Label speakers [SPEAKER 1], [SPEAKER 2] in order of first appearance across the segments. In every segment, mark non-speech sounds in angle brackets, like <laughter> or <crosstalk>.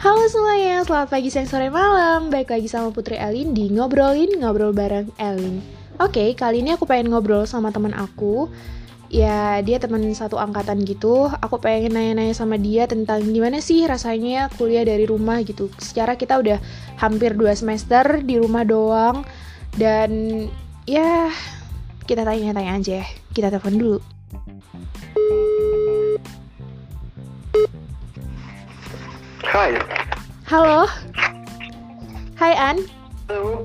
[SPEAKER 1] Halo semuanya, selamat pagi, siang, sore, malam Baik lagi sama Putri Elin di Ngobrolin Ngobrol Bareng Elin Oke, kali ini aku pengen ngobrol sama teman aku Ya, dia teman satu angkatan gitu Aku pengen nanya-nanya sama dia tentang gimana sih rasanya kuliah dari rumah gitu Secara kita udah hampir 2 semester di rumah doang Dan ya, kita tanya-tanya aja Kita telepon dulu
[SPEAKER 2] Hai.
[SPEAKER 1] Halo Hai An,
[SPEAKER 2] <laughs> Halo.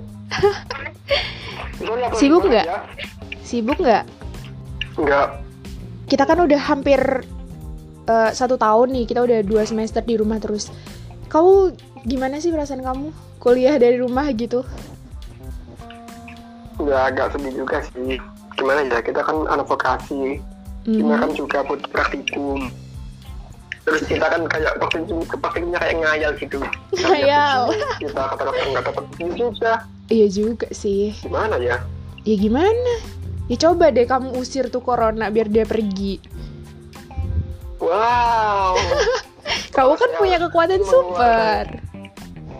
[SPEAKER 2] Sorry,
[SPEAKER 1] Sibuk
[SPEAKER 2] aku ya? lagi
[SPEAKER 1] nggak?
[SPEAKER 2] mana
[SPEAKER 1] sibuk nggak?
[SPEAKER 2] ya? Nggak.
[SPEAKER 1] kita kan udah hampir eh, satu tahun nih kita udah dua semester di rumah terus kamu gimana sih perasaan kamu kuliah dari rumah gitu
[SPEAKER 2] Ya agak sedih juga sih. Gimana ya, kita kan anak vokasi. Kita
[SPEAKER 1] Hmm.
[SPEAKER 2] kan juga buat praktikum. Terus kita kan kayak waktu itu praktikumnya kayak ngayal gitu. Kayak
[SPEAKER 1] Ngayal.
[SPEAKER 2] begini, Kita kata dokter nggak dapat begini juga.
[SPEAKER 1] iya juga sih
[SPEAKER 2] Gimana ya?
[SPEAKER 1] ya gimana ya coba deh kamu usir tuh corona biar dia pergi <laughs>
[SPEAKER 2] Wow.
[SPEAKER 1] kamu kan punya kekuatan super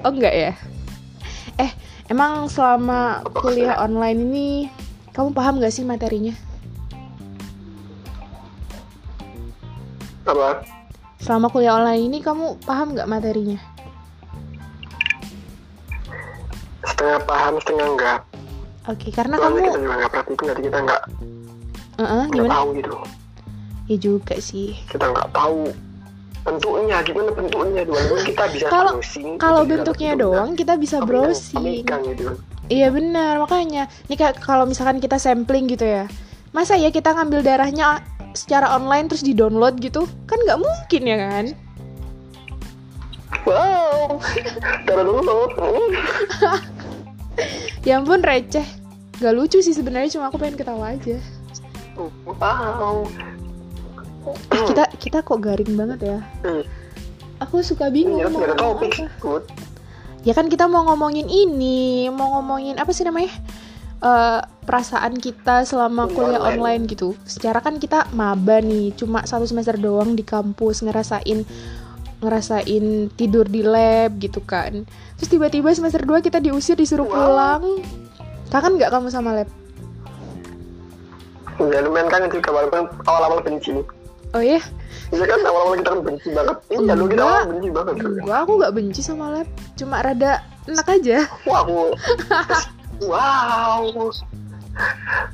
[SPEAKER 1] oh enggak ya eh emang selama kuliah online ini kamu paham gak sih materinya
[SPEAKER 2] Apa?
[SPEAKER 1] selama kuliah online ini kamu paham nggak materinya
[SPEAKER 2] Setengah paham, setengah enggak.
[SPEAKER 1] oke karena
[SPEAKER 2] Soalnya kita
[SPEAKER 1] Nah, kamu
[SPEAKER 2] juga nggak praktikum, jadi kita nggak
[SPEAKER 1] Eh, eh,
[SPEAKER 2] nggak
[SPEAKER 1] gimana
[SPEAKER 2] tahu gitu.
[SPEAKER 1] ya juga sih
[SPEAKER 2] Kita nggak tahu bentuknya gimana bentuknya walaupun kita bisa
[SPEAKER 1] Kalau-
[SPEAKER 2] Iya, browsing gitu,
[SPEAKER 1] Kalau
[SPEAKER 2] kita bisa
[SPEAKER 1] bentuknya
[SPEAKER 2] bentuknya.
[SPEAKER 1] doang kita bisa
[SPEAKER 2] Tapi
[SPEAKER 1] browsing.
[SPEAKER 2] megang gitu kan.
[SPEAKER 1] Iya benar, makanya. Ini kayak kalau misalkan kita sampling gitu ya. Masa ya kita ngambil darahnya secara online terus di-download gitu? Kan nggak mungkin ya kan?
[SPEAKER 2] wow darah dulu loh Hmm.
[SPEAKER 1] Ya ampun receh. Gak lucu sih sebenarnya cuma aku pengen ketawa aja.
[SPEAKER 2] wow
[SPEAKER 1] Eh, kita kita kok garing banget ya.
[SPEAKER 2] Hmm.
[SPEAKER 1] Aku suka bingung
[SPEAKER 2] ini harus
[SPEAKER 1] mau
[SPEAKER 2] Iya, ada
[SPEAKER 1] ngomong
[SPEAKER 2] topik
[SPEAKER 1] apa.
[SPEAKER 2] Good.
[SPEAKER 1] Ya kan kita mau ngomongin ini, mau ngomongin apa sih namanya? Eh, perasaan kita selama
[SPEAKER 2] Kuliah
[SPEAKER 1] kuliah
[SPEAKER 2] online.
[SPEAKER 1] online gitu. Secara kan kita maba nih, cuma satu semester doang di kampus ngerasain ngerasain tidur di lab gitu kan. Terus tiba-tiba semester 2 kita diusir disuruh
[SPEAKER 2] Wow.
[SPEAKER 1] pulang. Kangen nggak kamu sama lab?
[SPEAKER 2] ya lumayan kan itu juga walaupun awal-awal benci
[SPEAKER 1] Oh ya,
[SPEAKER 2] Iya kan awal-awal kita kan benci banget iya lu kita
[SPEAKER 1] Enggak.
[SPEAKER 2] awal benci banget
[SPEAKER 1] gua aku nggak benci sama lab, cuma rada enak aja.
[SPEAKER 2] wow wow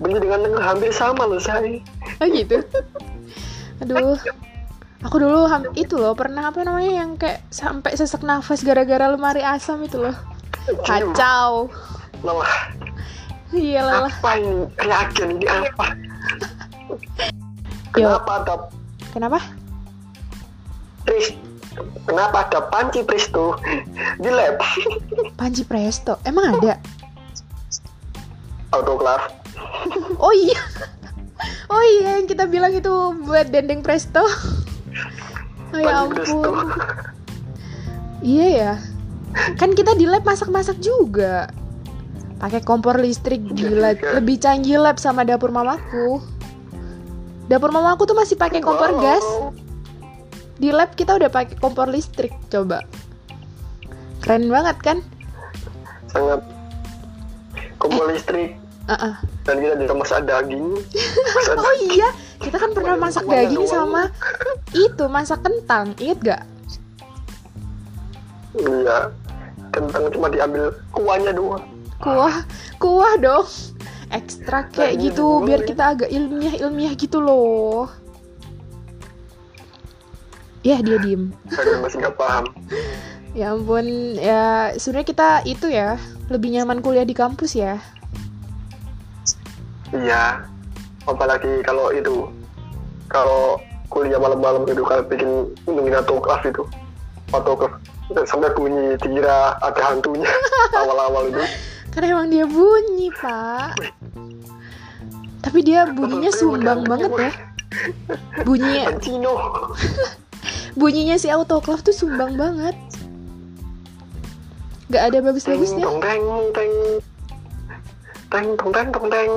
[SPEAKER 2] benci dengan dengar hampir sama loh saya
[SPEAKER 1] Oh gitu. Aduh. Aku dulu ham- itu loh pernah apa namanya yang kayak sampai sesak nafas gara-gara lemari asam itu loh. Kacau. Iya,
[SPEAKER 2] Loh,
[SPEAKER 1] Iyalah.
[SPEAKER 2] apa ini reagen ini apa
[SPEAKER 1] Yo.
[SPEAKER 2] Iya. kenapa ada
[SPEAKER 1] Kenapa?
[SPEAKER 2] Pris kenapa ada panci Pris tuh di lab
[SPEAKER 1] Panji Presto. Emang ada?
[SPEAKER 2] autoclave
[SPEAKER 1] Oh iya. Oh iya yang kita bilang itu buat dendeng presto. Oh ya
[SPEAKER 2] panci Pris tuh
[SPEAKER 1] ampun. Iya ya. Kan kita di lab masak-masak juga. Pakai kompor listrik gila, lebih canggih lab sama dapur mamaku. Dapur mamaku tuh masih pakai kompor
[SPEAKER 2] Wow.
[SPEAKER 1] gas. Di lab kita udah pakai kompor listrik, coba. Keren banget kan?
[SPEAKER 2] sangat
[SPEAKER 1] Eh.
[SPEAKER 2] kompor listrik
[SPEAKER 1] Heeh.
[SPEAKER 2] dan kita juga masak daging masak
[SPEAKER 1] Uh-uh. <laughs> Oh iya, kita kan pernah masak
[SPEAKER 2] Kemana
[SPEAKER 1] daging
[SPEAKER 2] doang?
[SPEAKER 1] sama itu masak kentang, inget gak?
[SPEAKER 2] iya kentang cuma diambil kuahnya doang
[SPEAKER 1] Kuah, kuah dong. Ekstra kayak
[SPEAKER 2] Dagingnya
[SPEAKER 1] gitu
[SPEAKER 2] dulu,
[SPEAKER 1] biar
[SPEAKER 2] ya.
[SPEAKER 1] kita agak ilmiah-ilmiah gitu loh. Ya dia diem.
[SPEAKER 2] saya masih nggak paham
[SPEAKER 1] Ya ampun, ya sebenarnya kita itu ya lebih nyaman kuliah di kampus ya.
[SPEAKER 2] iya apalagi kalau itu kalau kuliah malam-malam gitu kalau bikin minum autoclave itu autoclave sampai bunyi dikira ada hantunya <laughs> awal-awal itu
[SPEAKER 1] Karena emang dia bunyi pak. Tapi dia bunyinya sumbang banget ya. Bunyinya
[SPEAKER 2] Pacino
[SPEAKER 1] bunyinya si autoclave tuh sumbang banget nggak ada
[SPEAKER 2] teng
[SPEAKER 1] bagus-bagusnya
[SPEAKER 2] tong teng teng teng tong teng tong teng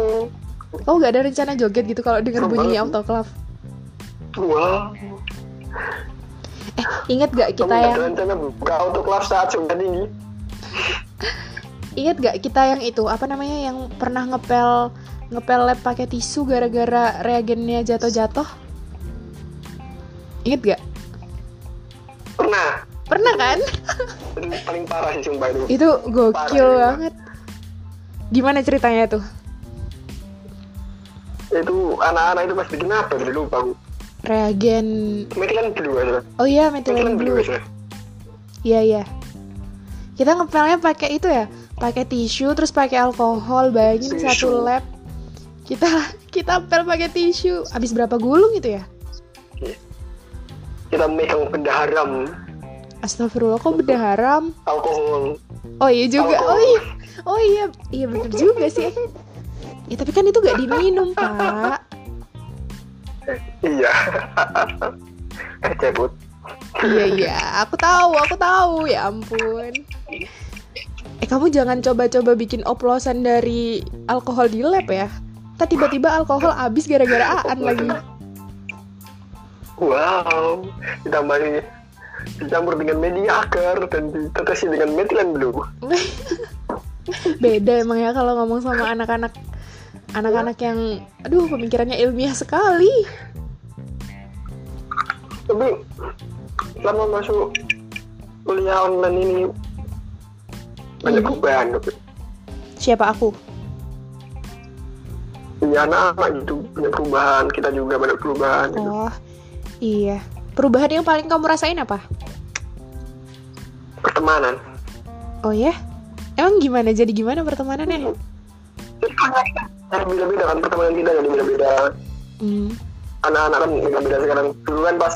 [SPEAKER 1] oh nggak ada rencana joget gitu kalau denger
[SPEAKER 2] Sumbang
[SPEAKER 1] bunyi
[SPEAKER 2] sih.
[SPEAKER 1] autoclave
[SPEAKER 2] wow
[SPEAKER 1] Eh, inget gak kita
[SPEAKER 2] Kamu
[SPEAKER 1] yang
[SPEAKER 2] ada rencana buka untuk kelas saat sudah tinggi?
[SPEAKER 1] inget gak kita yang itu apa namanya yang pernah ngepel ngepel lab pakai tisu gara-gara reagennya jatuh-jatuh? Inget gak?
[SPEAKER 2] Pernah.
[SPEAKER 1] Pernah kan? <laughs>
[SPEAKER 2] Paling, paling parah sih sumpah itu.
[SPEAKER 1] Itu gokil
[SPEAKER 2] Parah.
[SPEAKER 1] banget. Gimana ceritanya tuh?
[SPEAKER 2] Itu anak-anak itu pas bikin apa? Jadi lupa aku.
[SPEAKER 1] Reagen.
[SPEAKER 2] Metilan blue aja.
[SPEAKER 1] Oh iya, methylene
[SPEAKER 2] Metilan blue
[SPEAKER 1] blue.
[SPEAKER 2] aja.
[SPEAKER 1] Iya iya. Kita ngepelnya pakai itu ya, pakai tisu terus pakai alkohol. Bayangin
[SPEAKER 2] Tisu.
[SPEAKER 1] satu lab kita kita pel pakai tisu. Habis berapa gulung itu ya?
[SPEAKER 2] Kita megang benda haram,
[SPEAKER 1] Astagfirullah kok beda haram.
[SPEAKER 2] alkohol.
[SPEAKER 1] Oh iya juga.
[SPEAKER 2] Alkohol.
[SPEAKER 1] Oh iya. Oh iya, iya bener juga sih. Ya tapi kan itu gak diminum, Pak.
[SPEAKER 2] Iya. eh cebut.
[SPEAKER 1] Iya iya, aku tahu, aku tahu. Ya ampun. Eh kamu jangan coba-coba bikin oplosan dari alkohol di lab ya. Ntar tiba-tiba alkohol habis gara-gara aan lagi.
[SPEAKER 2] Wow. Ditambahi dicampur dengan mediaker dan ditetesi dengan metilan blue.
[SPEAKER 1] Beda emang ya kalau ngomong sama anak-anak anak-anak yang aduh pemikirannya ilmiah sekali.
[SPEAKER 2] tapi selama masuk kuliah online ini banyak
[SPEAKER 1] Mhm.
[SPEAKER 2] perubahan tapi
[SPEAKER 1] Siapa aku?
[SPEAKER 2] ya anak-anak gitu banyak perubahan kita juga banyak perubahan gitu.
[SPEAKER 1] Oh. Iya. Perubahan yang paling kamu rasain apa?
[SPEAKER 2] pertemanan
[SPEAKER 1] Oh ya? Emang gimana? Jadi gimana pertemanannya?
[SPEAKER 2] Jadi kan beda-beda kan pertemanan kita jadi beda-beda
[SPEAKER 1] Hmm.
[SPEAKER 2] anak-anak kan beda-beda sekarang dulu kan pas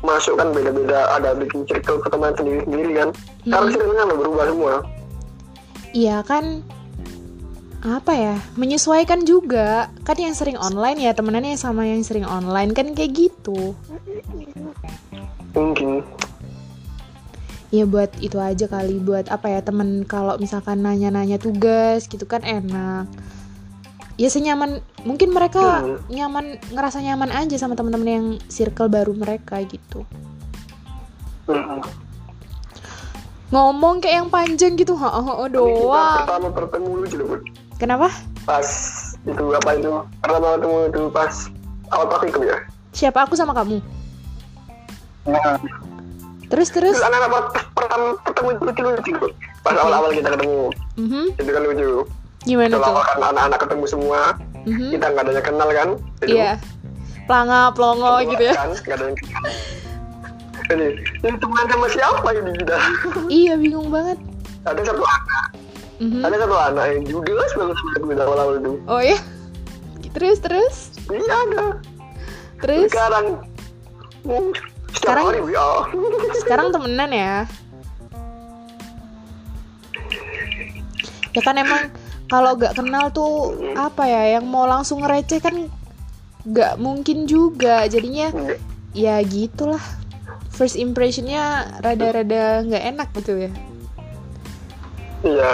[SPEAKER 2] masuk kan beda-beda ada bikin circle pertemanan sendiri-sendiri kan sekarang
[SPEAKER 1] Mhm.
[SPEAKER 2] circle-nya udah berubah semua
[SPEAKER 1] Iya kan apa ya menyesuaikan juga kan yang sering online ya temenannya sama yang sering online kan kayak gitu
[SPEAKER 2] mungkin
[SPEAKER 1] ya buat itu aja kali buat apa ya temen kalau misalkan nanya-nanya tugas gitu kan enak ya senyaman mungkin mereka
[SPEAKER 2] Hmm.
[SPEAKER 1] nyaman ngerasa nyaman aja sama temen-temen yang circle baru mereka gitu
[SPEAKER 2] Mhm.
[SPEAKER 1] ngomong kayak yang panjang gitu ha ha
[SPEAKER 2] Tapi kita
[SPEAKER 1] doang
[SPEAKER 2] pertama bertemu lucu loh, Bud.
[SPEAKER 1] kenapa
[SPEAKER 2] pas itu apa itu pertama ketemu itu pas awal praktikum ya
[SPEAKER 1] siapa aku sama kamu
[SPEAKER 2] Nah,
[SPEAKER 1] terus terus
[SPEAKER 2] terus anak-anak per- pertama ketemu itu lucu-lucu pas awal-awal kita ketemu
[SPEAKER 1] Mhm.
[SPEAKER 2] itu kan lucu
[SPEAKER 1] gimana
[SPEAKER 2] kalau
[SPEAKER 1] tuh
[SPEAKER 2] awal kan anak-anak ketemu semua
[SPEAKER 1] Mhm.
[SPEAKER 2] kita nggak ada yang kenal kan Jadi,
[SPEAKER 1] Iya. Pelanga, pelongo
[SPEAKER 2] keluar
[SPEAKER 1] gitu ya.
[SPEAKER 2] kan, nggak ada yang kenal jadi ini teman sama siapa ini kita
[SPEAKER 1] iya, bingung banget.
[SPEAKER 2] ada satu anak
[SPEAKER 1] Mhm.
[SPEAKER 2] ada satu anak yang judes banget sama aku dari awal-awal itu
[SPEAKER 1] Oh ya. Terus terus
[SPEAKER 2] iya ada
[SPEAKER 1] terus
[SPEAKER 2] sekarang hmm, setiap
[SPEAKER 1] Sekarang-
[SPEAKER 2] hari ya
[SPEAKER 1] sekarang temenan ya. Ya kan emang kalau gak kenal tuh apa ya yang mau langsung ngereceh kan gak mungkin juga. Jadinya ya gitulah. First impressionnya rada-rada nggak enak gitu ya.
[SPEAKER 2] iya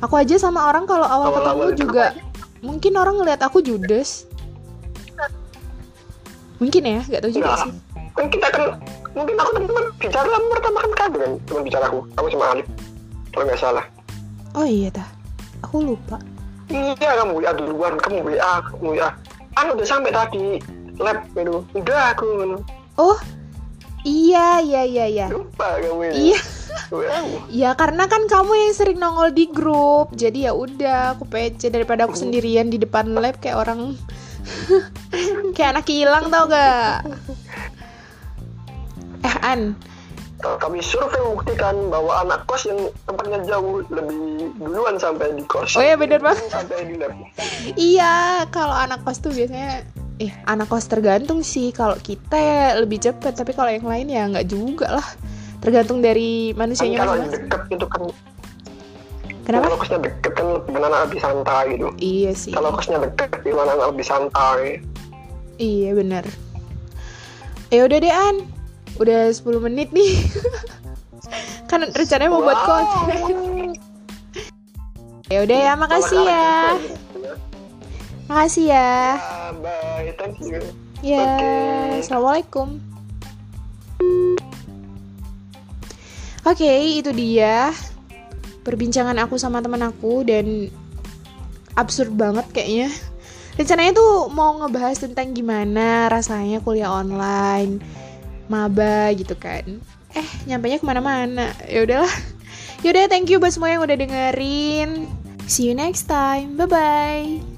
[SPEAKER 1] Aku aja sama orang kalau awal ketemu
[SPEAKER 2] Awal-awal itu
[SPEAKER 1] juga mungkin orang ngelihat aku judes. Mungkin ya, nggak tahu juga
[SPEAKER 2] Nggak.
[SPEAKER 1] sih.
[SPEAKER 2] kan kita kan mungkin aku teman bicara pertama kan kamu kan teman bicara aku aku sama Alif kalau nggak salah
[SPEAKER 1] Oh iya dah. Aku lupa.
[SPEAKER 2] Iya kamu WA duluan, kamu WA, kamu WA. Anu udah sampai tadi lab menu. Udah aku gitu. menu.
[SPEAKER 1] Oh. Iya, iya, iya, iya.
[SPEAKER 2] Lupa kamu ini.
[SPEAKER 1] Iya.
[SPEAKER 2] WA.
[SPEAKER 1] Ya karena kan kamu yang sering nongol di grup. Jadi ya udah, aku PC daripada
[SPEAKER 2] Oh.
[SPEAKER 1] aku sendirian di depan lab kayak orang <laughs> kayak anak hilang tau gak? Eh An,
[SPEAKER 2] "Eh, Kami survei membuktikan bahwa anak kos yang tempatnya jauh lebih duluan sampai di kos.
[SPEAKER 1] Oh iya, bener banget.
[SPEAKER 2] Sampai di lab.
[SPEAKER 1] Iya, kalau anak kos tuh biasanya eh anak kos tergantung sih. Kalau kita ya lebih cepet, tapi kalau yang lain ya nggak juga lah. Tergantung dari
[SPEAKER 2] Kan
[SPEAKER 1] manusianya
[SPEAKER 2] kalau yang
[SPEAKER 1] masing-masing.
[SPEAKER 2] deket itu kan
[SPEAKER 1] Kenapa?
[SPEAKER 2] kalau kosnya deket kan lebih anak lebih santai gitu.
[SPEAKER 1] Iya sih.
[SPEAKER 2] Kalau kosnya deket gimana anak lebih santai.
[SPEAKER 1] Iya benar. Eh udah deh An. Udah 10 menit nih. <laughs> kan rencananya mau buat konten. Ya udah ya, makasih ya. Makasih ya.
[SPEAKER 2] Bye, thank you.
[SPEAKER 1] Ya,
[SPEAKER 2] Oke.
[SPEAKER 1] assalamualaikum. Oke, itu dia perbincangan aku sama teman aku dan absurd banget kayaknya. Rencananya tuh mau ngebahas tentang gimana rasanya kuliah online, maba gitu kan. Eh, nyampainya kemana-mana. Ya udahlah. Ya Yaudah, thank you buat semua yang udah dengerin. See you next time. Bye-bye.